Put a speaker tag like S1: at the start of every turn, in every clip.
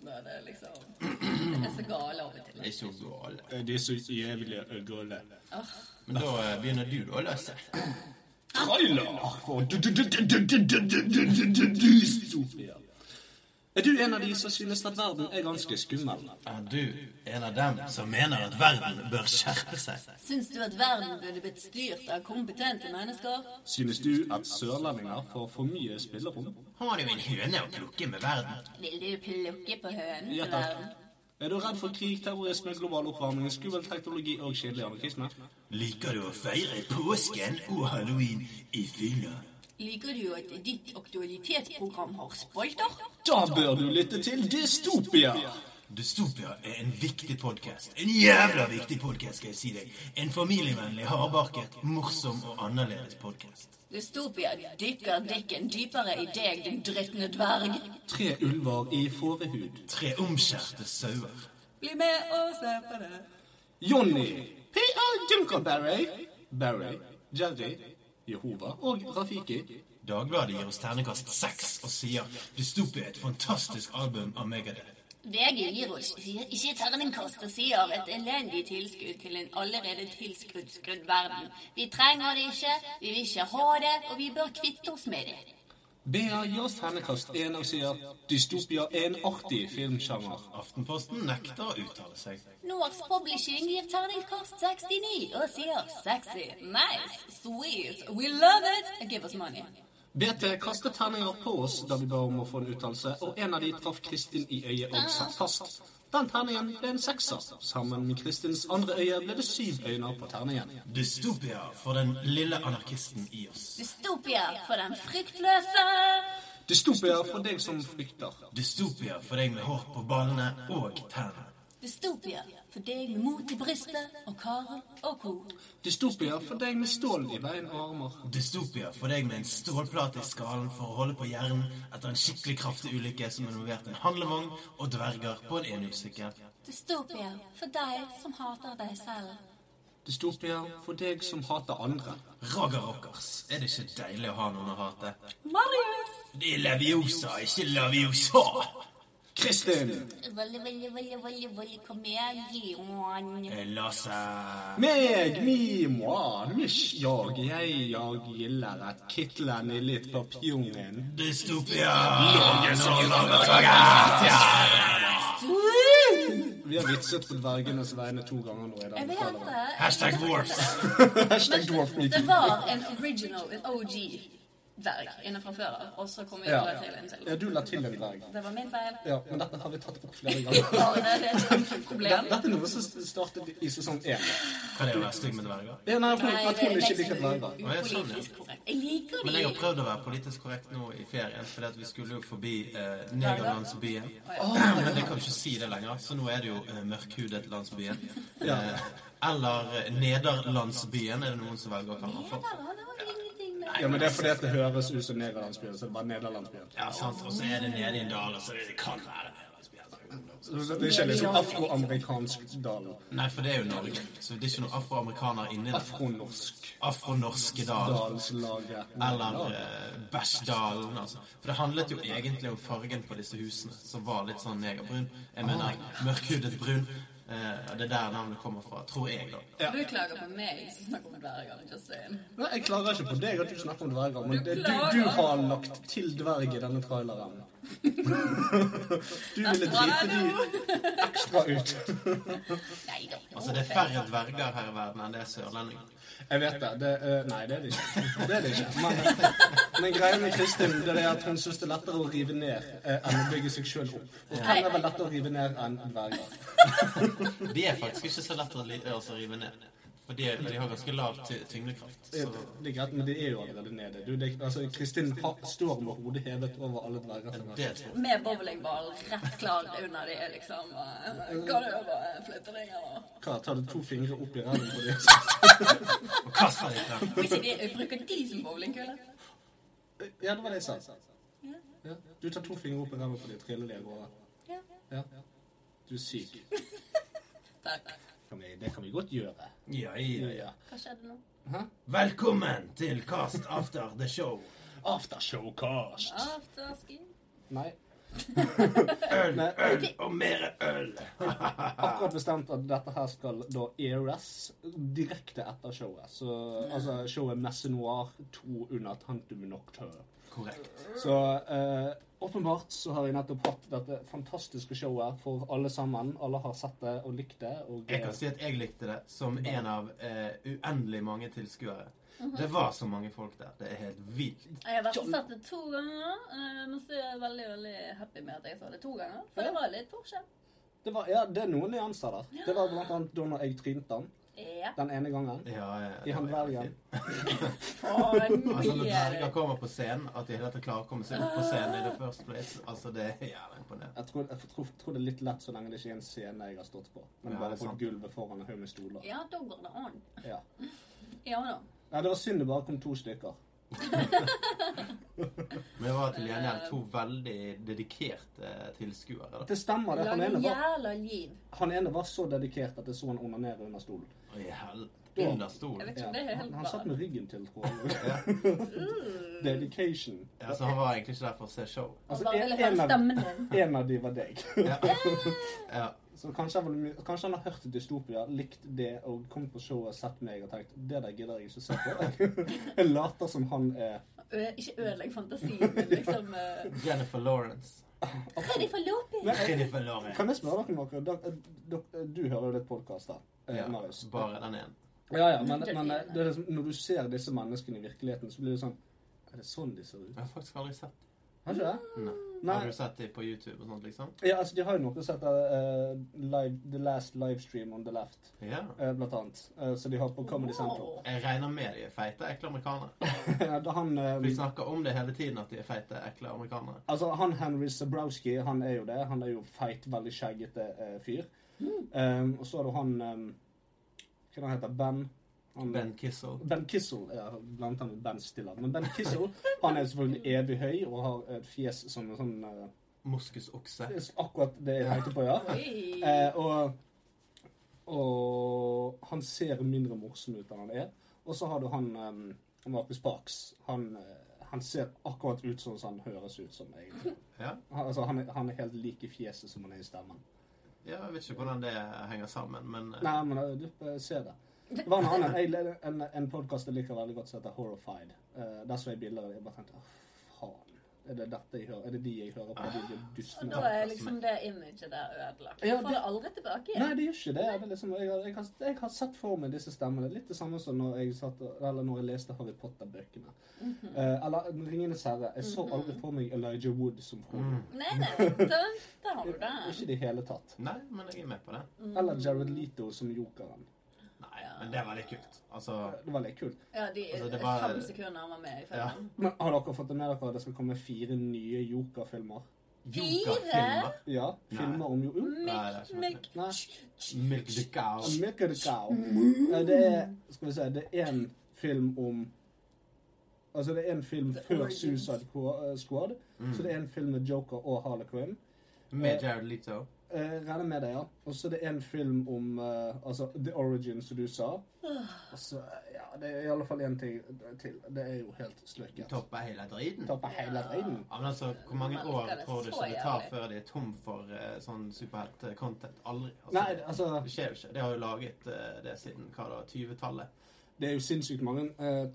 S1: det liksom Det er så gale av og til.
S2: Det er så galt.
S3: Det er så jævlig eh, gale.
S2: Men da eh, begynner du, da, Lasse.
S3: Trailer for du- du- du- du- du- du- du- du- du- du- du- du- Sofia. Er du en av de som synes at verden er ganske skummel?
S2: Er du en av dem som mener at verden bør skjerpe seg?
S1: Syns du at verden burde blitt styrt av kompetente mennesker?
S3: Synes du at sørlendinger får for mye spillerom?
S2: Har du en høne å plukke med verden?
S1: Vil du plukke på hønen
S3: Ja,
S1: til
S3: takk.
S1: verden?
S3: Er du redd for krig, terrorisme, global oppvarming, skummel teknologi og kjedelig anarkisme?
S2: Liker du å feire påsken og halloween i fylla?
S1: Liker du at ditt aktualitetsprogram har spalter?
S3: Da bør du lytte til Dystopia!
S2: Dystopia er en viktig podkast. En jævla viktig podkast, skal jeg si deg. En familievennlig, hardbarket, morsom og annerledes podkast.
S1: Dystopia dykker dikken dypere i deg, din drittende dverg.
S3: Tre ulver i fårehud.
S2: Tre omskjærte sauer.
S1: Bli med og se på det.
S3: Johnny, P.R. Dunkerberry, Barry, Jerry, Jehova og Rafiki.
S2: Dagbladet gir oss ternekast seks og sier Dystopia er et fantastisk album av Megadeth.
S1: VG gir oss ikke terningkast og sier et elendig tilskudd til en allerede tilskuddsskrudd verden. Vi trenger det ikke, vi vil ikke ha det, og vi bør kvitte oss med det.
S3: BA gir oss ternekast 1 og sier dystopia er en artig filmsjanger.
S2: Aftenposten nekter å uttale seg.
S1: Norsk Publishing gir terningkast 69 og sier Oh, sexy, nice, sweet, we love it, give us money.
S3: BT kastet terninger på oss da vi ba om å få en uttalelse, og en av de traff Kristin i øyet og satt fast. Den terningen ble en sekser. Sammen med Kristins andre øye ble det syv øyne på terningen.
S2: Dystopia for den lille anarkisten i oss.
S1: Dystopia for den fryktløse.
S3: Dystopia for deg som flykter.
S2: Dystopia for deg med hår på ballene og tennene.
S1: Dystopia for deg med mot i brystet og Karl og co.
S3: Dystopia for deg med stål i bein og armer.
S2: Dystopia for deg med en stålplate i skallen for å holde på hjernen etter en skikkelig kraftig ulykke som involverte en handlevogn og dverger på en enhjulssykkel.
S1: Dystopia for deg som hater deg selv.
S3: Dystopia for deg som hater andre.
S2: Raga rockers, er det ikke deilig å ha noen å hate?
S1: Marius!
S2: Det er Leviosa, ikke Laviosa!
S3: Kristin!
S1: Volle, volle, volle, volle, volle, kom igjen, Johan.
S2: Eh, Lasse
S3: Meg, mi, moi, mish, jag, jeg, jag gillar at kittlen i litt på pjungen.
S2: Dystopia!
S3: Vi har vitset på dvergenes vegne to ganger nå i dag.
S1: Jeg vet det.
S2: Hashtag dwarfs.
S3: Hashtag dwarf
S1: Det
S3: meeting.
S1: var en original, en OG-dverg inne fra før av, og så kom vi
S3: Ja.
S1: bare til en til.
S3: ja, du la til en dverg.
S1: Det var min feil.
S3: Ja, men dette har vi tatt opp flere ganger.
S1: Og det er et problem.
S3: Dette er noe som startet i sesong én.
S2: Kan jeg være stygg med dverger?
S3: Ja, nei, for
S1: Nei,
S3: at
S1: det
S3: hun
S1: er
S3: ikke liker dverger.
S1: liksom upolitisk korrekt. Jeg liker
S2: Men jeg har
S1: de.
S2: prøvd å være politisk korrekt nå i ferien, fordi at vi skulle jo forbi eh, negerlandsbyen. Men jeg kan jo ikke si det lenger, så nå er det jo eh, mørkhudet-landsbyen. Eh, eller eh, nederlandsbyen, er det noen som velger å kalle den for.
S1: Ja, han har jo ingenting med
S3: Ja, men det er fordi at det høres ut som nederlandsbyen, så det var nederlandsbyen.
S2: Ja, sant. Og så er det nede i en dal, og så det kan være nederlandsbyen.
S3: Så Det er ikke liksom afroamerikansk dal.
S2: Nei, for det er jo Norge, så det er ikke noen afroamerikaner inni den
S3: Afronorsk
S2: afronorske dalen.
S3: dalslaget.
S2: Eller eh, Bæsjdalen, altså. For det handlet jo egentlig om fargen på disse husene, som var litt sånn negerbrun. Jeg mener mørkhudet brun. Eh, og det er der navnet kommer fra, tror jeg, da.
S1: Du klager på meg som snakker om dverger. just saying.
S3: Nei, jeg klager ikke på deg at du snakker om dverger, men det, du, du har lagt til dverg i denne traileren. Du ville drite de ekstra ut.
S1: Nei da.
S2: Altså, det er færre dverger her i verden enn det er sørlendinger.
S3: Jeg vet det. det eh, nei, det er det ikke. Det er det ikke. Men, men greia med Kristin det er det at hun syns det er lettere å rive ned eh, enn å bygge seg sjøl opp. Og hvem er vel lettere å rive ned enn dverger?
S2: De er faktisk ikke så lett å li- altså, rive ned. For de, de har ganske lav ty tyngdekraft.
S3: Det
S2: Så
S3: det er greit, men det er jo allerede nede. Du, det, altså, Kristin ha, står med hodet hevet over alle dverger. som er-
S2: det tror jeg.
S1: Med bowlingball rett klar under de, liksom. og- Går det over eh, flytteringer og
S3: Hva, tar du to fingre opp i ræven på det?
S2: Og kaster de frem.
S1: Hvis ikke de bruker de som bowlingkule.
S3: Ja, det var det jeg sa. Ja. Du tar to fingre opp i ræva på de triller de av gårde.
S1: Ja.
S3: Ja. Du er syk.
S1: Takk.
S3: Kan vi, det kan vi godt gjøre.
S2: Ja, ja, ja.
S1: Hva skjedde nå?
S2: Velkommen til Cast After The Show.
S3: Aftershowcast.
S1: Afterski.
S2: eh.
S3: Nei.
S2: Øl, øl og mer øl.
S3: akkurat bestemt at dette her skal da aires direkte etter showet. Så altså showet Messe Noir 2 under Tantum Nocturne.
S2: Korrekt.
S3: Så eh, åpenbart så har jeg nettopp hatt dette fantastiske showet for alle sammen. Alle har sett det og likt det. Og
S1: Eh,
S2: Jeg kan si at jeg likte det som
S1: Mm.
S2: en av eh, uendelig mange tilskuere.
S1: Mhm.
S2: Det var så mange folk der. Det er helt vilt.
S1: Jeg har vært og sett det to ganger, eh, men så er jeg veldig veldig happy med at jeg så det to ganger. For det var litt forskjell.
S3: det, var, ja, det er noen nyanser der. Det var blant annet da når jeg trynte den
S1: Ja.
S3: den ene gangen.
S2: Ja, ja, det
S3: I han
S2: var helt
S3: dvergen.
S2: fint.
S1: Og
S2: Altså, når dverger
S1: mer
S2: kommer på scenen, at de hele tatt klarer å komme seg opp på scenen i the first place, altså det er jævla imponerende.
S3: Jeg tror, jeg tror, tror det er litt lett så lenge det ikke er en scene jeg har stått på.
S2: Ja,
S3: Men
S2: det
S3: bare
S2: er
S3: på
S2: sant.
S3: gulvet foran en haug med stoler.
S1: Ja, da går det an.
S3: Ja.
S1: Ja da.
S3: Nei, det var synd det bare kom to stykker.
S2: Men det var til gjengjeld to veldig dedikerte eh, tilskuere. da.
S3: Det stemmer, det. Han ene
S1: Lang
S3: var,
S1: jævla liv.
S3: han ene var så dedikert at jeg så han onanere under stolen.
S2: Å, i hel- Under
S1: Jeg
S2: stolen.
S1: vet ikke om det er
S3: Han,
S1: helt
S3: han satt
S1: bra.
S3: med ryggen til, tror jeg. Mm. Dedication.
S2: Ja, så han var egentlig ikke der for å se show.
S1: Han
S3: Altså,
S1: bare
S3: en,
S1: ville høre
S3: en, av,
S1: stemmen din.
S3: en av de var deg.
S2: Ja. Ja.
S3: Så kanskje, han var- kanskje han har hørt Dystopia, likt det og kommet på showet og sett meg og tenkt Det der gidder jeg ikke å se på. Jeg later som han er
S1: Ø- Ikke ødelegg fantasien min, liksom. eh.
S2: Jennifer Lawrence.
S1: Hva er de for lopi?
S3: Men jeg-
S2: Jennifer Lawrence.
S3: Kan jeg spørre dere noe? Dere- dere- Du hører jo litt podkast, da. eh,
S2: Ja,
S3: Marius.
S2: bare den ene.
S3: Ja, ja, men, men eh, det er liksom, når du ser disse menneskene i virkeligheten, så blir det sånn Er det sånn de ser ut?
S2: Jeg har faktisk aldri sett dem.
S3: Har ikke det?
S2: Nei.
S3: Nei.
S2: Har du sett dem på YouTube og sånt, liksom?
S3: Ja, altså, de har jo noe som heter eh, live, The Last Livestream on the Left,
S2: Ja.
S3: eh, blant annet. Eh, så de har på Comedy Central.
S1: Wow.
S2: Jeg regner med de er feite, ekle amerikanere.
S3: da han eh,
S2: Vi snakker om det hele tiden at de er feite, ekle amerikanere.
S3: Altså, han Henry Zabrowski, han er jo det. Han er jo feit, veldig skjeggete eh, fyr. Um, og så er det han um, Hva er det han heter Ben? Han,
S2: Ben Kissel.
S3: Ben Kissel, ja, blant annet Ben Stiller. Men Ben Kissel han er selvfølgelig evig høy og har et fjes som en sånn eh,
S2: Moskusokse.
S3: Det er akkurat det jeg tenkte på, ja.
S1: Oi.
S3: Eh, og, og han ser mindre morsom ut enn han er. Og så har du han um, Markus Parks. Han, eh, han ser akkurat ut sånn som han høres ut som. egentlig.
S2: Ja.
S3: Han, altså, han, er, han er helt lik i fjeset som han er i stemmen.
S2: ja, jeg vet ikke hvordan det henger sammen, men eh,
S3: Nei, men eh, du eh, ser det. Det var en annen, jeg, leder en, en podkast jeg liker veldig godt, som heter Horrified. Eh, der så jeg bilder og jeg bare tenkte «Åh, faen. Er det dette jeg hører? Er det de jeg hører på? De
S1: Og
S3: dustene
S1: da er liksom det imaget der ødelagt. Du
S3: Ja,
S1: får
S3: det-
S1: det aldri tilbake
S3: Nei,
S1: igjen.
S3: det gjør ikke det. det er liksom, jeg, har, jeg, har, jeg har sett for meg disse stemmene. Litt det samme som når jeg, satt, og- eller når jeg leste Harry Potter-bøkene. Eh, eller Ringenes herre. Jeg så aldri for meg Elijah Wood
S2: Mm.
S3: som Frodo.
S1: Nei, nei, da- der har du
S3: Ikke
S1: det.
S3: i det hele tatt.
S2: Nei, men jeg er med på det.
S3: Eller Jared Leto som jokeren.
S2: Nei, men det var litt kult. Altså
S3: Det var litt kult.
S1: Ja, de
S2: Altså, det var-
S1: fem sekunder han var med i
S2: ja.
S1: filmen.
S3: Men har dere fått det med dere at det skal komme fire nye joker-filmer?
S2: Joker-filmer.
S3: Ja, filmer om jo... Uh,
S2: Nei, det er
S1: Mikk, mikk.
S2: ikke
S3: Nei.
S2: Milk the cow.
S3: Milk of the Cow. Eh, Det er Skal vi se Det er én film om Altså, det er en film
S1: The
S3: før
S1: Origins.
S3: Suicide Qu- eh, Squad. Så det er en film med Joker og Harley Quinn.
S2: Med Jared Leto.
S3: Eh, regner med det, ja. Og så er det en film om eh, altså, The Origin, som du sa. Og så, eh, ja, det er i alle fall én ting til. Det er jo helt sløkket.
S2: Topper hele driten.
S3: Tapper hele driten.
S2: Ja, men altså, Hvor mange
S1: Man
S2: år
S1: elsker det
S2: tror du
S1: så
S2: ikke det tar
S1: jævlig.
S2: før de er tom for eh, sånn superhelt-content? Aldri. Altså,
S3: Nei, altså
S2: det skjer jo ikke. De har jo laget eh, det siden hva da, 20-tallet.
S3: Det er jo sinnssykt mange eh,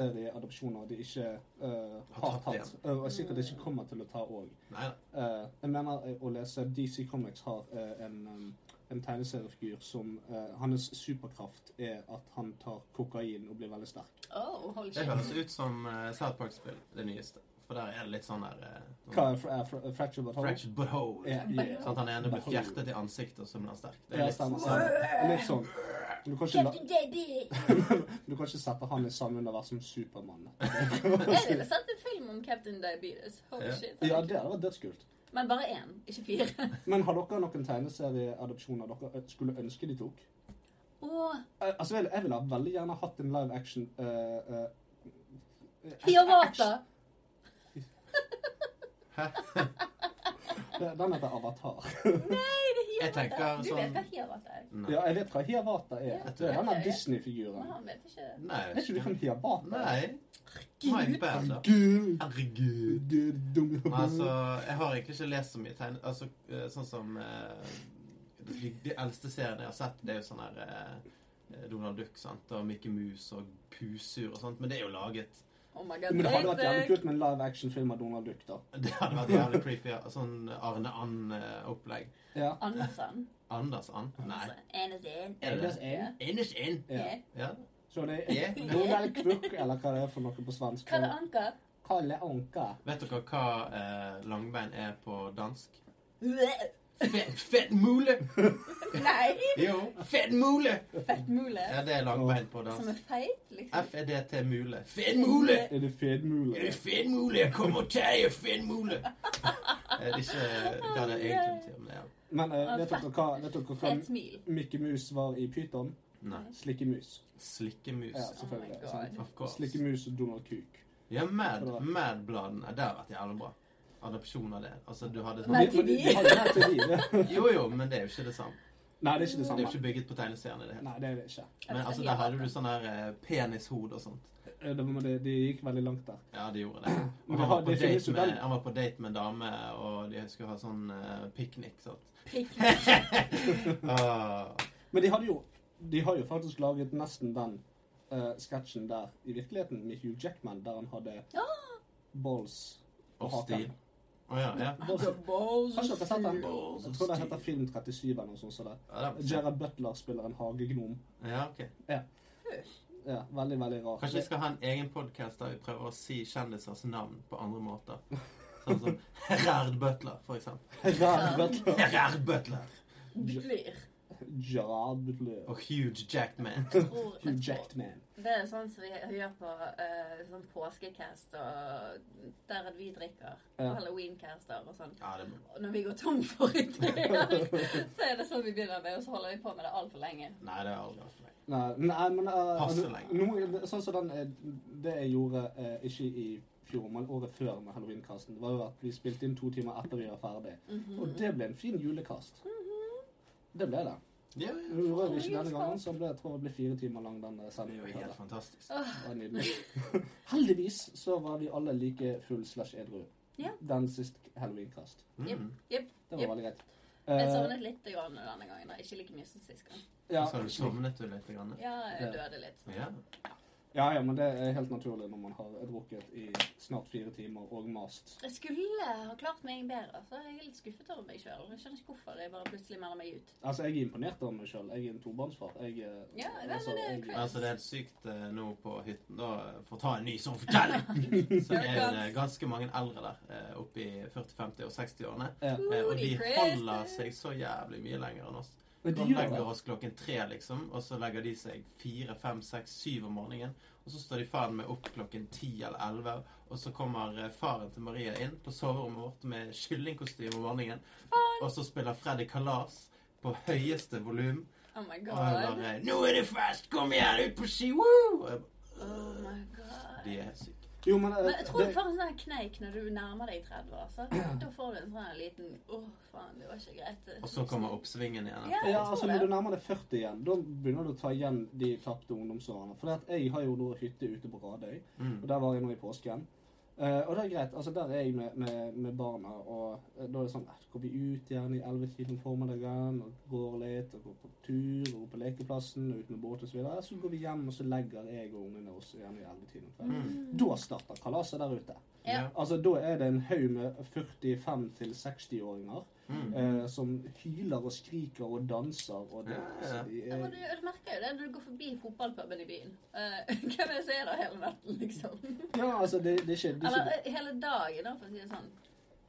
S3: tegneserieadopsjoner de ikke eh, har
S2: Har tatt
S3: tatt. eh, Og sikkert ikke kommer til å ta òg.
S2: Nei da.
S3: Eh, jeg mener eh, å lese DC Comics har eh, en, um, en tegneseriefigur som eh, Hans superkraft er at han tar kokain og blir veldig sterk.
S1: Oh, holy
S2: Det
S1: shit.
S2: høres ut som eh, South Park-spill, det nyeste. For der er det litt sånn der eh,
S3: Hva er fra, fra, fracture but whole?
S2: Fractured but whole.
S3: Ja, ja.
S2: Sånn at han ene blir fjertet i ansiktet, og så blir han sterk. Det
S3: Ja,
S2: er litt
S3: stemmer,
S2: sånn.
S3: stemmer. Litt sånn. Du kan, ikke, la-
S4: Baby.
S3: du kan ikke sette han i samme univers som Supermann.
S1: Jeg ville sett en film om Captain Diabetes. Holy
S2: Ja.
S1: shit.
S3: Ja, det hadde vært dødskult.
S1: Men bare én, ikke fire.
S3: Men har dere noen tegneserieadopsjoner dere ø- skulle ønske de tok?
S1: Åh,
S3: Eh, altså, jeg, jeg ville veldig gjerne hatt en live action uh,
S1: Hiawatha!
S3: Eh, Den heter Avatar.
S1: Nei, det er
S2: Jeg tenker
S1: Du vet hva
S2: sånn
S1: Hiawatha er?
S2: Nei.
S3: Ja, jeg vet hva Hiawatha er. Det er den der Disney-figuren.
S1: Men han vet ikke
S2: Nei.
S3: Vet ikke du hvem Hiawatha er?
S2: Nei. My bad, da.
S3: Gud,
S2: Herregud.
S3: du dumme
S2: Altså, jeg har egentlig ikke lest så mye tegn... Altså, eh, sånn som eh, de, de eldste seriene jeg har sett, det er jo sånn her eh, Donald Duck sant? og Mickey Mouse og Pusur og sånt, men det er jo laget
S1: Oh my god,
S3: Men det hadde vært jævlig
S1: basic.
S3: kult med en live action-film av Donald Duck, da.
S2: Det hadde vært jævlig creepy. ja. Sånn Arne And-opplegg.
S3: Ja.
S1: eh, Andersen.
S2: eh, Anders And? Nei.
S4: Andersen.
S2: Er det det?
S3: Ja.
S2: Anders And?
S3: Ja.
S2: Ja.
S3: Så det
S2: Ja.
S3: er Donald Kvukk, eller hva det er for noe på svensk.
S1: Kalle Anker.
S3: Kalle Anka.
S2: Vet dere hva eh, langbein er på dansk?
S1: Nei!
S2: Fett, fett mule! Jo, fett mule!
S1: Fett mule.
S2: Ja, det er langbein på
S1: Som
S2: dansk.
S1: er feit, liksom.
S2: F-E-D-T mule. Fett mule!
S3: Er det fedmule?
S2: Finnmule, jeg kommer og tar Finnmule! Eh, Det er ikke hva det egentlig betyr, men ja.
S3: Men eh, vet dere hva, vet dere hva
S1: Fett smil.
S3: Mikke Mus var i Pyton?
S2: Nei.
S3: Slikkemus.
S2: Slikkemus.
S3: Ja,
S1: Oh my
S3: selvfølgelig. sant?
S2: Of course.
S3: Slikkemus og Donald Kuk.
S2: Ja, Mad, Mad-bladene. Det har vært jævlig bra. Adopsjon av det. Altså, du hadde sånn
S1: Nei, til
S3: Men de-
S1: de.
S3: de har jo her til de, det.
S2: Jo, jo, men det er jo ikke det samme.
S3: Nei, det er ikke det
S2: Det er jo
S3: samme.
S2: ikke bygget på tegneseriene i det hele tatt.
S3: Nei, det er det ikke.
S2: Men altså, der hadde du sånn her eh, penishode og sånt.
S3: Eh, det var- det- De gikk veldig langt der.
S2: Ja, det gjorde det.
S3: Men
S2: Og han
S3: det har-
S2: var på
S3: det finnes
S2: date
S3: jo
S2: med,
S3: den-
S2: han var på date med en dame, og de skulle ha sånn eh, piknik. Sånn.
S1: Prikk.
S2: Ah,
S3: Men de, hadde jo, de har jo faktisk laget nesten den eh, sketsjen der i virkeligheten med Hugh Jackman, der han hadde balls på
S2: off stil.
S3: haken.
S2: Å ja, ja.
S3: Balls. Kanskje dere har sett den?
S2: Balls
S3: Jeg
S2: of
S3: tror det
S2: steel.
S3: heter Film 37 eller noe sånt. som det.
S2: ja. det var-
S3: Gerard Butler spiller en hagegnom.
S2: Ja, ok.
S3: Ja, veldig, veldig rart.
S2: Kanskje vi skal ha en egen podkast der vi prøver å si kjendisers navn på andre måter. Sånn som Gerard Butler, for eksempel.
S3: Gerard Butler.
S2: Gerard Butler
S1: Blir.
S3: Gerard Butler.
S2: og Huge Jackman.
S1: Tror
S3: Hugh
S1: jeg på.
S3: Jackman.
S1: Det er sånn som vi gjør på eh, sånn påskecast og der at vi drikker.
S3: Ja.
S1: Og Halloweencaster og sånn.
S2: Ja, det må...
S1: Og når vi går tom for ideer, så er det sånn vi begynner med, og så holder vi på med det altfor lenge.
S2: Nei, det er aldri vært for meg.
S3: Nei, nei, men eh,
S2: Passer lenge.
S3: noe- Sånn som den eh, Det jeg gjorde eh, ikke i fjor, men året før med Halloweenkasten, det var jo at vi spilte inn to timer etter vi var ferdig.
S2: Mhm.
S3: Og det ble en fin julekast. Det ble det.
S2: Ja,
S3: Nå
S2: ja.
S3: gjorde vi ikke denne gangen, så ble, jeg tror det ble fire timer lang den
S2: Det er
S3: eh,
S2: jo
S3: sendingen.
S2: helt fantastisk.
S3: Det var nydelig. Heldigvis så var vi alle like full slash edru
S1: Ja.
S3: den siste Halloweenkast.
S2: Mm.
S1: Jepp.
S3: Det var
S1: Jep.
S3: veldig greit.
S1: Jeg
S3: Eh,
S1: sovnet litt grann denne gangen. da. Ikke like mye som sist gang.
S3: ja.
S2: Så har du sovnet du litt? Grann.
S1: Ja, jeg
S3: Ja.
S1: døde litt.
S2: Ja.
S3: ja, ja, men det er helt naturlig når man har drukket i snart fire timer og mast.
S1: Jeg skulle ha klart meg bedre, så jeg er litt skuffet over meg sjøl. Jeg skjønner ikke hvorfor jeg bare plutselig melder meg ut.
S3: Altså, jeg er imponert over meg sjøl. Jeg er en tobarnsfar. Jeg, eh,
S1: Ja, nei, men det er
S3: jeg,
S1: crazy.
S2: Altså, det er helt sykt eh, nå på hytten. Da eh, for å ta en ny sånn fortelling! Så er det ganske mange eldre der, eh, oppe i 40-, 50- og 60-årene.
S3: Ja.
S2: Eh, Og de
S1: Holy
S2: holder
S1: Christ.
S2: seg så jævlig mye lenger enn oss.
S3: Men de
S2: De
S3: gjør
S2: legger
S3: det.
S2: oss klokken tre, liksom, og så legger de seg fire, fem, seks, syv om morgenen. Og så står de faen meg opp klokken ti eller elleve, og så kommer eh, faren til Maria inn på soverommet vårt med kyllingkostyme om morgenen, og så spiller Freddy Kalas på høyeste volum.
S1: Oh my
S2: Og han
S1: god.
S2: bare 'Nå er det fest! Kom igjen, ut på ski!' Woo! Og jeg bare, «Øh,
S1: Oh my god.
S2: De er helt syke.
S3: Jo, men, eh,
S1: Men jeg tror du
S3: det,
S1: får en sånn her kneik når du nærmer deg 30 år. Så da får du en sånn her liten Å, faen, det var ikke greit.
S2: Og så kommer oppsvingen igjen.
S1: Ja.
S3: ja,
S1: jeg tror
S3: altså,
S1: det.
S3: når du nærmer deg 40 igjen, da begynner du å ta igjen de tapte ungdomsårene. For jeg har jo nå hytte ute på Radøy. Og
S2: Mm.
S3: der var jeg nå i påsken. Eh, og det er greit. altså Der er jeg med, med, med barna, og eh, da er det sånn eh, Går vi ut igjen i 11-tiden om formiddagen og går litt, og går på tur, og går på lekeplassen, og ut med båt og Så, videre. så går vi hjem, og så legger jeg og ungene oss igjen i 11-tiden. om kvelden.
S2: Mm.
S3: Da starter kalaset der ute.
S1: Ja.
S2: Ja.
S3: Altså Da er det en haug med 45-60-åringer
S2: Mm.
S3: eh, som hyler og skriker og danser og det.
S2: Ja, ja.
S3: Så de
S1: Ja,
S3: er,
S1: men du, du merker jo det når du går forbi fotballpuben i byen. Eh, hvem er det som er der hele natten, liksom?
S3: ja, altså, det, det er ikke, det er
S1: Eller
S3: ikke
S1: eh, hele dagen, da, for å si det sånn.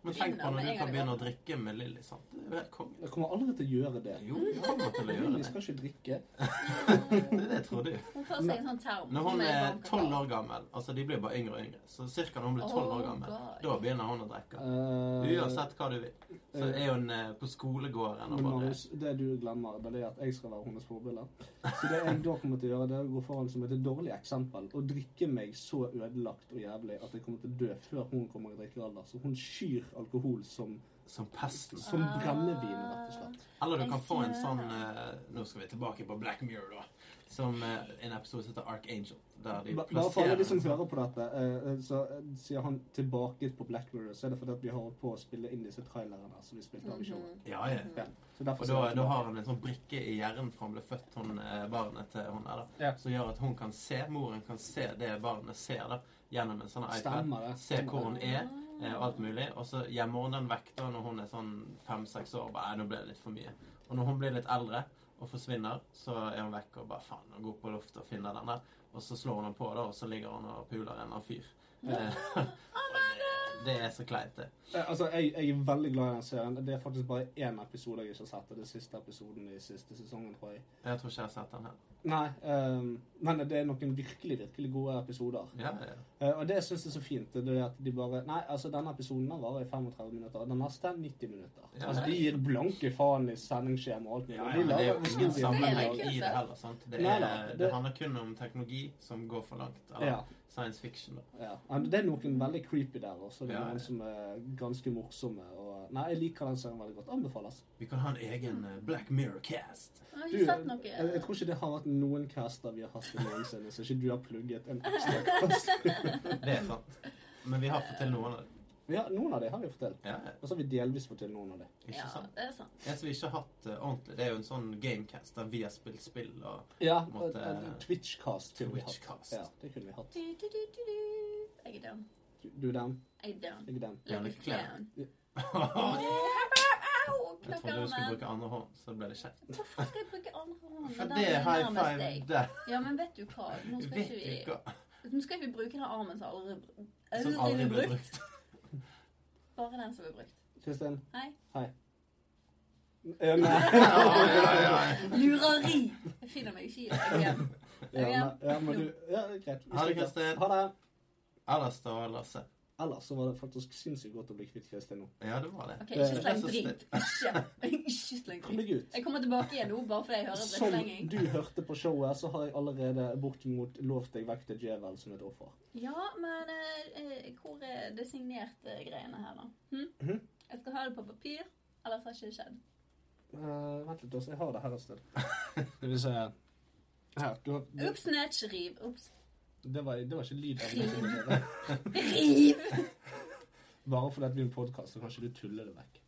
S2: Men tenk på
S1: Begynner med en
S2: når du
S1: gang
S2: kan
S1: i
S2: begynne å
S1: går.
S2: drikke med Lilly, sant? Det er jo helt konge.
S3: Jeg kommer aldri til å gjøre det.
S2: Jo, du kommer til å gjøre
S3: Vi
S2: det.
S3: skal ikke drikke.
S2: Det er det jeg trodde.
S1: Mm. Hun får seg en sånn term.
S2: Når hun er tolv år gammel Altså, de blir bare yngre og yngre. Så cirka når hun blir tolv år gammel,
S1: Oh, God.
S2: da begynner hun å drikke.
S3: Eh,
S2: Uansett hva du vil. Så er hun eh, på skolegården
S3: Men
S2: og bare
S3: Marius, det du glemmer, det er at jeg skal være hennes forbilde. Så det jeg da kommer til å gjøre, det er å gå foran som et dårlig eksempel og drikke meg så ødelagt og jævlig at jeg kommer til å dø før hun kommer i drikkealder. Så hun skyr alkohol som,
S2: Som pesten.
S3: som brennevin, rett og slett.
S2: Eller du kan få en sånn eh, Nå skal vi tilbake på Black Mirror, da. Som eh, en episode som heter Archangel. Der de sånn-
S3: Ba- Bare sånn for alle de som
S2: plasserer
S3: hører på dette, eh, eh, så eh, sier han tilbake på Black Mirror, så er det fordi at vi har holdt på å spille inn disse trailerne som vi spilte
S1: Mhm.
S3: av i
S1: Mm.
S3: showet.
S2: Ja, ja.
S3: Ja. Så derfor
S2: Og
S3: sier
S2: da,
S3: han
S2: da
S3: tilbake.
S2: har han en sånn brikke i hjernen fra han ble født, hun eh, barnet til hun der, da.
S3: Ja.
S2: Som gjør at hun kan se, moren kan se det barnet ser, da. Gjennom en sånn iPad.
S3: Stemmer det.
S2: Se hvor hun
S3: Stemmer det.
S2: er, eh, og alt mulig. Og så gjemmer hun den vekk da når hun er sånn fem-seks år. Bare, «Nei, nå ble det litt for mye. Og når hun blir litt eldre og forsvinner, så er hun vekk og bare faen, og går opp på loftet og finner den der. Og så slår hun den på, da, og så ligger hun og puler en eller annen fyr. Eh, og det, det er så kleint, det.
S3: Eh, Altså, jeg, jeg er veldig glad i den serien. Det er faktisk bare én episode jeg ikke har sett. og Det er siste episoden i siste sesongen, tror jeg.
S2: Jeg tror ikke jeg har sett den her.
S3: Nei, ehm, men det er noen virkelig, virkelig gode episoder.
S2: Ja, ja, ja.
S3: Eh, og det syns jeg er så fint. Det er at de bare Nei, altså, denne episoden den varer i 35 minutter, og den neste er 90 minutter.
S2: Ja.
S3: altså, de gir blanke faen i sendingsskjema og alt mulig.
S2: Ja,
S3: de
S2: men det er jo
S3: lager
S2: ingen
S3: historier.
S2: sammenheng
S1: Det er
S2: i
S1: kult,
S2: det
S1: det.
S2: heller. sant? Det,
S3: Nei
S2: er,
S3: da,
S2: det...
S3: det-
S2: handler kun om teknologi som går for langt. Eller
S3: Ja.
S2: science fiction. da.
S3: Ja. men Det er noen veldig creepy der også. Det er
S2: Ja, ja.
S3: noen som er ganske morsomme. Og, nei, jeg liker den serien veldig godt. Anbefales.
S2: Vi kan ha en egen eh, Black Mirror-cast.
S1: Jeg har
S3: Du,
S1: ikke
S3: jeg,
S1: sett
S3: jeg
S1: noe.
S3: tror ikke det har vært noen caster vi har hatt i noensinne, så ikke du har plugget en ekstra cast.
S2: Det er sant. Men vi har fått til noen av dem.
S3: Ja, noen av det har vi fått til.
S2: Ja,
S3: Og så har vi delvis fått til noen av det.
S2: ikke
S1: Ja,
S2: sant?
S1: det er sant.
S2: Det som vi ikke har hatt eh, ordentlig, det er jo en sånn gamecast der vi har spilt spill og
S3: Ja,
S2: Måtte-
S3: og- og eh, Twitchcast kunne vi hatt.
S2: Twitchcast.
S3: Ja, det kunne vi hatt.
S1: Du, du, du, du, du. Jeg er down.
S3: Du den,
S1: Jeg er down.
S3: jeg den.
S2: Gjerne
S1: Like a
S2: klær.
S1: clown.
S2: Jeg
S1: Au! Knakk
S2: trodde du skulle
S1: armen.
S2: bruke andre hånd, så ble det kjekt.
S1: Hvorfor skal jeg bruke andre hånd?
S2: For
S1: Den
S2: det
S1: er
S2: er high
S1: nærmest
S2: five
S1: deg.
S2: der.
S1: Ja, men vet du hva? Nå skal
S2: Vet
S1: ikke
S2: du
S1: vi
S2: hva?
S1: Nå skal ikke vi bruke den armen som aldri, br-
S2: Som aldri
S1: brukt.
S2: ble brukt.
S1: Bare den som er brukt.
S3: Kristin?
S1: Hei.
S3: Hei. Eh, nei.
S1: Lureri! Jeg finner meg ikke i det igjen.
S3: Ja, men- ja, men du Ja, greit. Vi
S2: Ha det,
S3: stikker.
S2: Kristin.
S3: Ha det.
S2: Ellers da, Lasse.
S3: Ellers så var det faktisk sinnssykt godt å bli kvitt Kristin nå.
S2: Ja, det var det.
S1: Ok, ikke sleng
S2: Det er så
S1: dritt. Ikke, ikke sleng
S3: Kom
S1: dritt.
S3: deg ut.
S1: Jeg kommer tilbake igjen nå, bare fordi jeg hører det
S3: Som
S1: slenging.
S3: du hørte på showet, så har jeg allerede bortimot lovt deg vekk til Djevel som et offer.
S1: Ja, men eh, eh, hvor er det eh, signerte greiene her, da? Hm?
S3: Mhm.
S1: Jeg skal ha det på papir, ellers har ikke det skjedd.
S3: Eh, vent litt, altså. Jeg har det her et sted. Skal vi se Her. Du har det,
S1: Ups, snatch, riv. Ups.
S3: det, var, det var ikke lyd av noe som skjedde.
S1: Riv!
S3: Bare fordi at vi er en podkast, så kan ikke du tulle det vekk.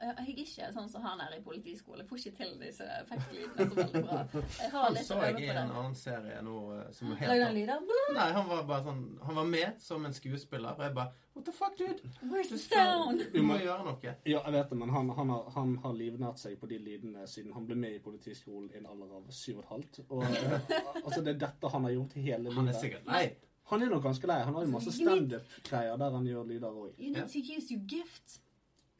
S1: Eh, Jeg er ikke sånn som han er i politiskolen. Jeg får ikke til disse effektlydene så veldig bra. Jeg har litt
S2: Så
S1: å øve
S2: jeg i
S1: på
S2: en
S1: den.
S2: annen serie nå eh, som
S1: Lager
S2: heter
S1: han lyder?
S2: Nei, han var bare sånn Han var med som en skuespiller, og jeg bare What the fuck, dude?
S1: Where's the sound?
S2: Du må gjøre noe.
S3: Ja, jeg vet det, men han, han, har, han har livnært seg på de lydene siden han ble med i politiskolen i en alder av syv og et halvt. Og eh, altså, det er dette han har gjort hele
S2: Han er
S3: livet.
S2: sikkert lei.
S3: Han er nok ganske lei. Han har jo masse
S1: Altså,
S3: standup-greier der han gjør lyder òg.
S1: You need to use your gift.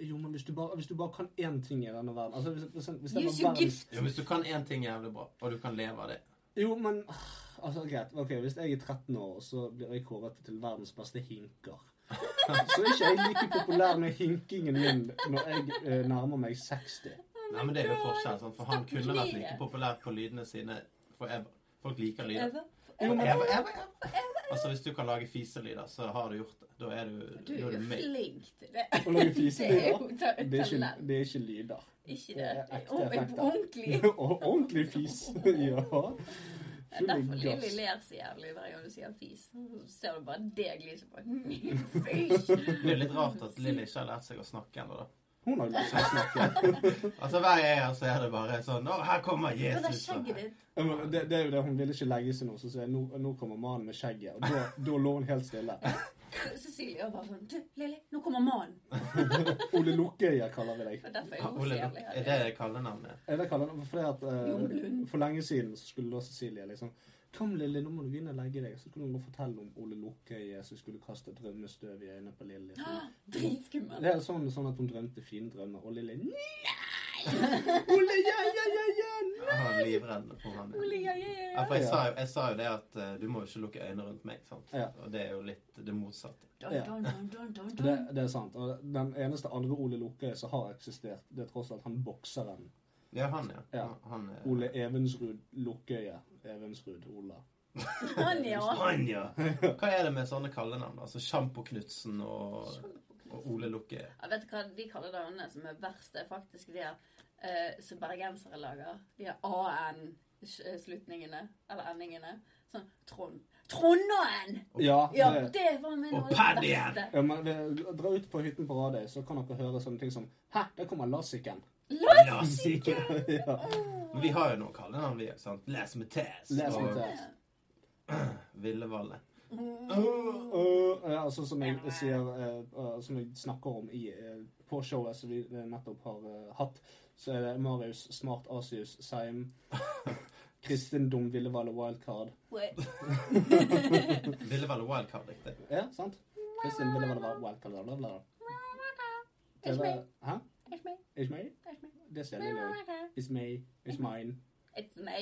S3: Jo, men hvis du, bare, hvis du bare kan én ting i denne verden altså, hvis, hvis, hvis det var
S1: Use your
S3: verdens-
S1: gift.
S2: Ja, hvis du kan én ting jævlig bra, og du kan leve av det
S3: Jo, men ah, Altså, greit. Ok, Hvis jeg er 13 år, så blir jeg kåret til verdens beste hinker. Så er ikke jeg like populær med hinkingen min når jeg eh, nærmer meg 60.
S2: Nei, men det er jo forskjell, sant? for han
S1: Stakkars
S2: kunne vært
S1: Lie.
S2: like populær på lydene sine forever. Folk liker lyder.
S1: Øve.
S3: Jo, men,
S2: Ever, ever, ever. Altså, Hvis du kan lage fiselyder, så har du gjort det. Da er du,
S1: Du
S2: da
S1: er
S2: er
S1: jo
S2: du med.
S1: flink til det.
S3: å lage
S1: Det er
S3: fiselyder,
S1: jo ta-
S3: det, er ikke-
S1: talent.
S3: det er ikke lyder.
S1: Ikke
S3: Det
S1: det.
S3: er ekte
S1: Om-
S3: effekter.
S1: Ordentlig.
S3: Og ordentlig fis. Ja.
S1: Det er derfor
S3: Full
S1: Lilly
S3: gass.
S1: ler så jævlig hver gang du sier fis. Så ser du bare deg lyse på. Fis.
S2: Det er litt rart at Lilly ikke har lært seg å snakke ennå, da.
S3: Hun har jo lært seg å snakke.
S2: Altså, Hver gang jeg er her, så er det bare sånn Å, her kommer
S1: Og det er
S2: Jesus! og
S1: skjegget
S2: her-
S1: ditt.
S3: Ja, men Det, det er jo det, Hun ville ikke legge seg nå, så sier jeg nå, nå kommer mannen med skjegget. Og da, da lå hun helt stille.
S1: Cecilie var bare sånn Du, Lilly, nå kommer mannen.
S3: Ole Lukkøya kaller vi deg.
S1: Og derfor er
S2: Ja,
S1: jeg jo så
S2: Ole,
S1: jævlig
S2: er
S1: herlig.
S2: det kallenavnet?
S3: Jeg vet hva det- fordi at eh,
S1: Jon Lund.
S3: For lenge siden så skulle da Cecilie liksom Kom, Lilly, nå må du begynne å legge deg. Så skulle hun gå og fortelle om Ole Lukkøye som skulle kaste drømmestøv i øynene på Lilly.
S1: Ah,
S3: Sånn.
S1: Dritskummelt.
S3: Det er sånn, sånn at hun drømte fine drømmer, og Lilly Nei! Ole, ja, ja, ja, ja! nei!»
S2: Han var livredd for han.
S1: Ole, ja, ja, ja.
S2: Ja, for jeg, sa jo, jeg sa jo det at eh, du må jo ikke lukke øynene rundt meg. sant?
S3: Ja.
S2: Og det er jo litt det motsatte.
S1: Dun,
S3: Ja.
S1: dun, dun, dun, dun,
S3: Det,
S1: dun.
S3: det er sant. Og den eneste andre Ole Lukkøye som har eksistert, det er tross alt han bokseren.
S2: Ja, han, ja.
S3: Ja.
S2: Han- Han, eh,
S3: Ole Evensrud Lukkøye. Evensrud Ola.
S1: Han, ja.
S2: Han, Sånn, ja. Hva er det med sånne kallenavn? Altså Sjampo Knutsen og, og Ole Lukke?
S1: Ja, vet du hva de kallenavnene som er verst, er faktisk det at eh, som bergensere lager. De her AN-slutningene, eller endingene. Sånn Trond. Trondåen!
S3: Ja,
S1: Ja,
S3: det,
S1: det var med
S2: Og
S1: noe av det
S2: Paddy-en!
S1: beste.
S3: ja men det, Dra ut på hytten på Radøy, så kan dere høre sånne ting som Hæ, der kommer Lassiken.
S2: Lassiken!
S3: ja.
S2: Men Vi har jo noe kallenavn, vi. sant? Les med Tess
S3: Les
S2: og
S3: med Tess.
S2: Villevalle.
S3: Og, ja, altså, som jeg sier eh, eh, Som jeg snakker om i, eh, på showet som vi nettopp har eh, hatt, så er det Marius Smart Asius Seim. Kristendom Villevalle Wildcard.
S2: Villevalle Wildcard, riktig.
S3: Ja, sant? Kristin Villevalle Wildcard. Bla, bla, bla. Det
S1: It's
S3: var-
S1: me,
S3: Hæ?
S1: it's me,
S3: It's me?
S1: it's me.
S3: Det ser jeg litt It's me. It's mine.
S1: It's me.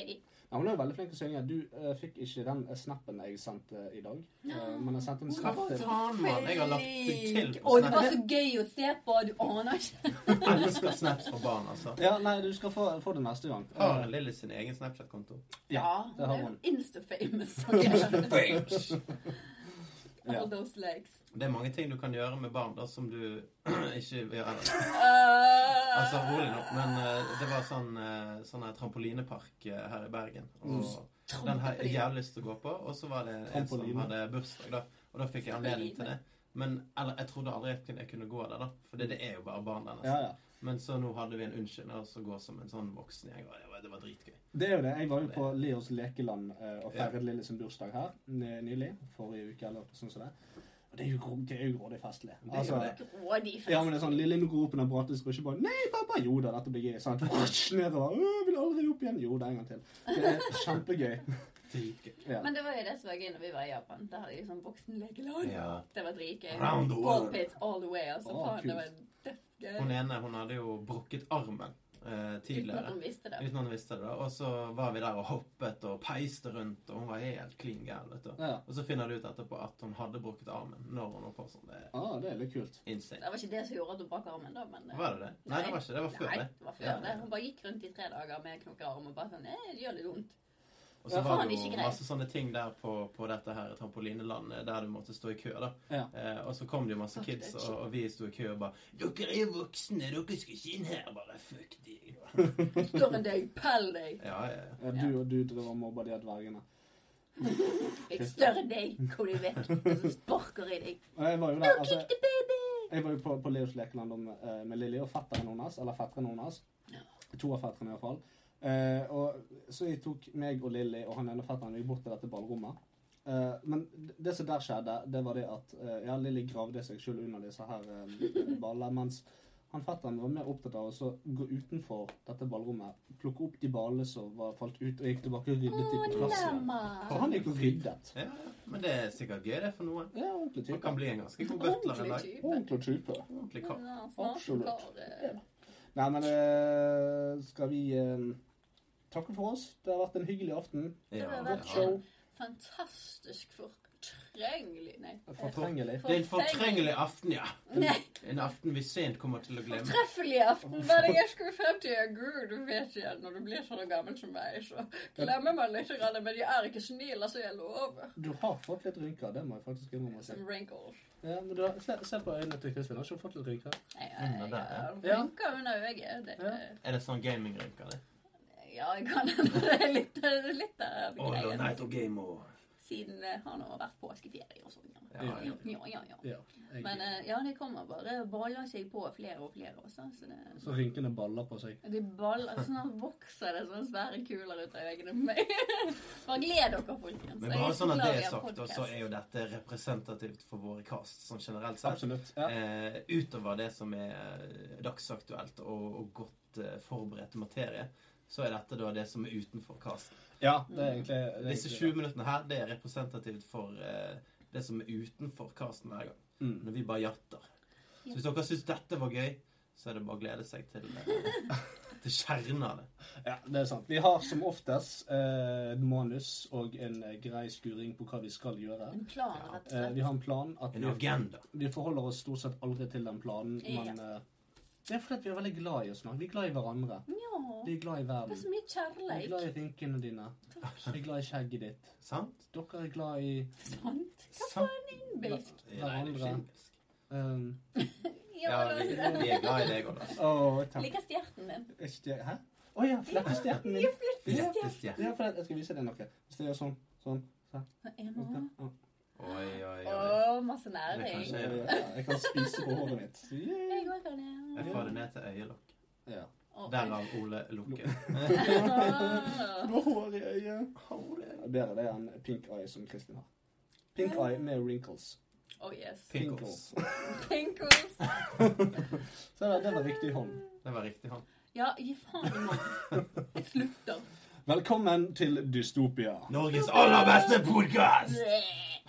S3: Ja, hun er jo veldig flink til å synge. Du eh, fikk ikke den eh, snappen jeg sendte i dag. Eh, men jeg sendte en
S2: Hva
S3: snap til
S2: faen, mann? Jeg har lagt deg til
S1: Å,
S2: på
S1: det
S2: Snap.
S1: var så gøy å se på, du aner ikke.
S2: Jeg elsker Snaps for barn, altså.
S3: Ja, nei, du skal få, få det neste gang. Eh,
S2: Har Lilly sin egen Snapchat-konto?
S3: Ja, det har
S1: er
S3: man.
S1: Insta-famous.
S3: Ja.
S1: All those legs.
S2: Det er mange ting du kan gjøre med barn da, som du ikke vil gjøre.
S1: Eh,
S2: Altså, rolig nå. Men eh, det var sånn, eh, sånn her trampolinepark eh, her i Bergen. Og den har jeg jævlig lyst til å gå på. Og så var det en som
S3: Trampoline.
S2: hadde bursdag, da. Og da fikk jeg anledning til det. Men eller, jeg trodde aldri jeg kunne, jeg kunne gå der, da. For det, det er jo bare barn der.
S3: Ja,
S2: nesten.
S3: ja.
S2: Men så nå hadde vi en unnskyldning og så gå som en sånn voksen gjeng. Og det var, det var dritgøy.
S3: Det er jo det. Jeg var jo på Leos lekeland eh, og feiret Lille sin bursdag her ny- nylig. Forrige uke eller sånn som det. Og det er jo gro- det er jo grådig festlig.
S2: Det er jo
S3: Altså,
S2: det.
S1: Grådig fest.
S3: ja, men det er sånn, Lille nå roper den bratte skal ikke bare Nei, pappa! Jo da, dette blir gøy. Sant? Nedover. «Åh, Vil aldri opp igjen. Jo da, en gang til. Det er kjempegøy.
S2: Dritgøy.
S3: Ja.
S1: Men det var jo det som var gøy når vi var i Japan. Der hadde de sånn voksenlekelag.
S2: Ja.
S1: Det var dritgøy.
S2: Around the world.
S1: Ballpits all the way. Altså,
S3: Å,
S1: faen, det var
S3: kult.
S2: Hun
S1: dødsgøy.
S2: ene hun hadde jo brukket armen eh,
S1: Uten at
S2: tidligere.
S1: hun visste det.
S2: Uten at hun visste det, da. Og så var vi der og hoppet og peiste rundt, og hun var helt klin gæren. vet du.
S3: Ja.
S2: Og så finner du ut etterpå at hun hadde brukket armen når hun var på sånn. Det
S3: Ah, det er litt kult.
S2: er insane.
S1: Det var ikke det som gjorde at hun brakk armen, da. Men,
S2: Var det det? Nei, det var ikke det. Det var før
S1: Nei,
S2: det.
S1: det var før
S2: Ja, ja,
S1: det.
S2: ja.
S1: Hun bare gikk rundt i tre dager med knokkearm og bare sånn eh, Det gjør litt vondt.
S2: Og så
S3: Ja,
S2: var
S1: faen,
S2: det jo
S1: ikke greit.
S2: masse sånne ting der på, på dette her trampolinelandet der du måtte stå i kø, da.
S3: Ja.
S2: Eh, og så kom det jo masse
S1: Fuck
S2: kids,
S1: det.
S2: og, og vi sto i kø og bare 'Dere er jo voksne, dere skal ikke inn her.' Bare fuck de. Ja,
S1: Står en deg, pell deg.
S2: ja, ja.
S3: Ja, Eh, du og du driver og mobber de her dvergene.
S1: Jeg større enn deg. Kom deg vekk. Og så sparker jeg deg.
S3: Og jeg var jo
S1: No,
S3: der, altså,
S1: kick the baby!
S3: jeg var jo på, på Leos lekeland om, eh, med Lilly og fetteren hennes, eller fetteren hennes.
S1: Ja.
S3: To av fetterne iallfall. Uh, og så jeg tok meg og Lilly og han ene fetteren vi gikk bort til dette ballrommet. Eh, men det som der skjedde, det var det at eh, ja, Lilly gravde seg selv under disse her uh, ballene, mens han fetteren var mer opptatt av å så gå utenfor dette ballrommet, plukke opp de ballene som var falt ut, og gikk tilbake og ryddet de
S1: Å,
S3: på plass igjen.
S1: lemma.
S3: Så han gikk og ryddet.
S2: ja. Men det er sikkert gøy, det, for noen.
S3: Ja, ordentlig
S2: Man
S3: type.
S2: kan bli en ganske god butler en
S1: Ordentlig
S2: dag.
S1: type.
S3: Ordentlig type.
S2: Ordentlig kar.
S1: Ja,
S3: Absolutt.
S1: snakker, eh,
S3: Nei, men eh, skal vi eh, takke for oss? Det har vært en hyggelig aften.
S1: Det
S2: Ja,
S1: var
S2: det
S1: veldig
S2: har
S3: Show.
S1: Fantastisk fortrengelig Nei.
S3: Fortrengelig.
S2: Det er en fortrengelig aften, ja.
S1: Nei,
S2: En aften vi sent kommer til å glemme.
S1: fortreffelig aften. Hva er det jeg skulle frem til? Gud, du vet ikke, når du blir sånn gammel som meg, så glemmer man litt, grann, men jeg er ikke snill, altså, jeg lover.
S3: Du har fått litt rynker, det må jeg faktisk innrømme. å si.
S1: Som wrinkles.
S3: Ja, men du har, se, se på øynene til Kristin. Har ikke hun fått litt rynker?
S1: Jeg
S2: Under der, ja.
S1: er rynker under øyet. Det,
S2: Er det sånn gamingrynker, det?
S1: ja, jeg kan endre litt, litt der.
S2: All
S1: greien.
S2: night og game og
S1: Siden eh, han har vært påskeferie og sånn. Ja,
S2: Ja, ja.
S1: ja, ja. ja, ja.
S3: Ja. jeg-
S1: Men eh, ja, det kommer bare baller seg på flere og flere også. Så det,
S3: så rynkene baller på seg.
S1: de baller, Snart vokser det sånne svære kuler ut av øynene på meg. bare gled dere, folkens.
S2: Men bare sånn at det er sagt, og så er jo dette representativt for våre cast sånn generelt sett.
S3: Absolutt. Ja.
S2: Eh, utover det som er eh, dagsaktuelt og, og godt eh, forberedt materie, så er dette da det som er utenfor cast.
S3: ja, det er egentlig det er
S2: Disse 20
S3: egentlig det.
S2: minuttene her, det er representativt for eh, det som er utenfor casten hver gang.
S3: Mm.
S2: Når vi bare jatter. Så hvis dere syns dette var gøy, så er det bare å glede seg til, eh, til kjernen av det.
S3: Ja, det er sant. Vi har som oftest eh, et manus og en eh, grei skuring på hva vi skal gjøre.
S1: En plan, rett og
S3: Eh, vi
S1: slett.
S3: har en plan. At
S2: En
S3: vi,
S2: agenda.
S3: vi forholder oss stort sett aldri til den planen,
S1: Ja.
S3: men eh, det er fordi at vi er veldig glad i oss nå. Vi er glad i hverandre.
S1: Ja.
S3: Vi er glad
S1: Det
S3: i
S1: er
S3: verden.
S1: så mye
S3: Vi er glad
S1: kjærleik.
S3: i rynkene dine. Vi er glad i skjegget ditt.
S2: Sant?
S3: Dere er glad i
S1: Sant? Hva
S2: Sant?
S1: faen, Bilsk?
S2: Ja, nei, det er jo
S3: Hverandre.
S2: kjempisk.
S3: um,
S2: Ja, vi, vi er glad i deg òg, da.
S3: Åh, takk.
S1: Liker stjerten din.
S3: Er ikke det- Hæ? Å ja, flekkestjerten min. Ja,
S2: Flekkestjerne.
S3: ja, for jeg skal vise deg noe. Hvis det er sånn, sånn, sånn.
S1: Hva er det nå?
S3: Ja.
S2: Oi, oi,
S1: Å,
S2: oi.
S1: masse næring.
S2: Det er
S3: Ja, Jeg kan spise på håret mitt.
S1: Jeg
S3: Yeah.
S1: går ikke ned.
S2: Jeg får det ned til øyelokk.
S3: Ja.
S1: Å,
S2: Derav Ole Lukke.
S1: å.
S3: Du har hår i øyet. Bedre det enn pink eye som Kristin har. Pink eye med wrinkles.
S1: Oh yes.
S2: Pinkles.
S1: Pinkles.
S3: Så det, det var riktig hånd.
S2: Det var riktig hånd.
S1: Ja, gi faen i mann. Jeg slutter.
S3: Velkommen til Dystopia.
S2: Norges aller beste podkast!
S1: Bleh.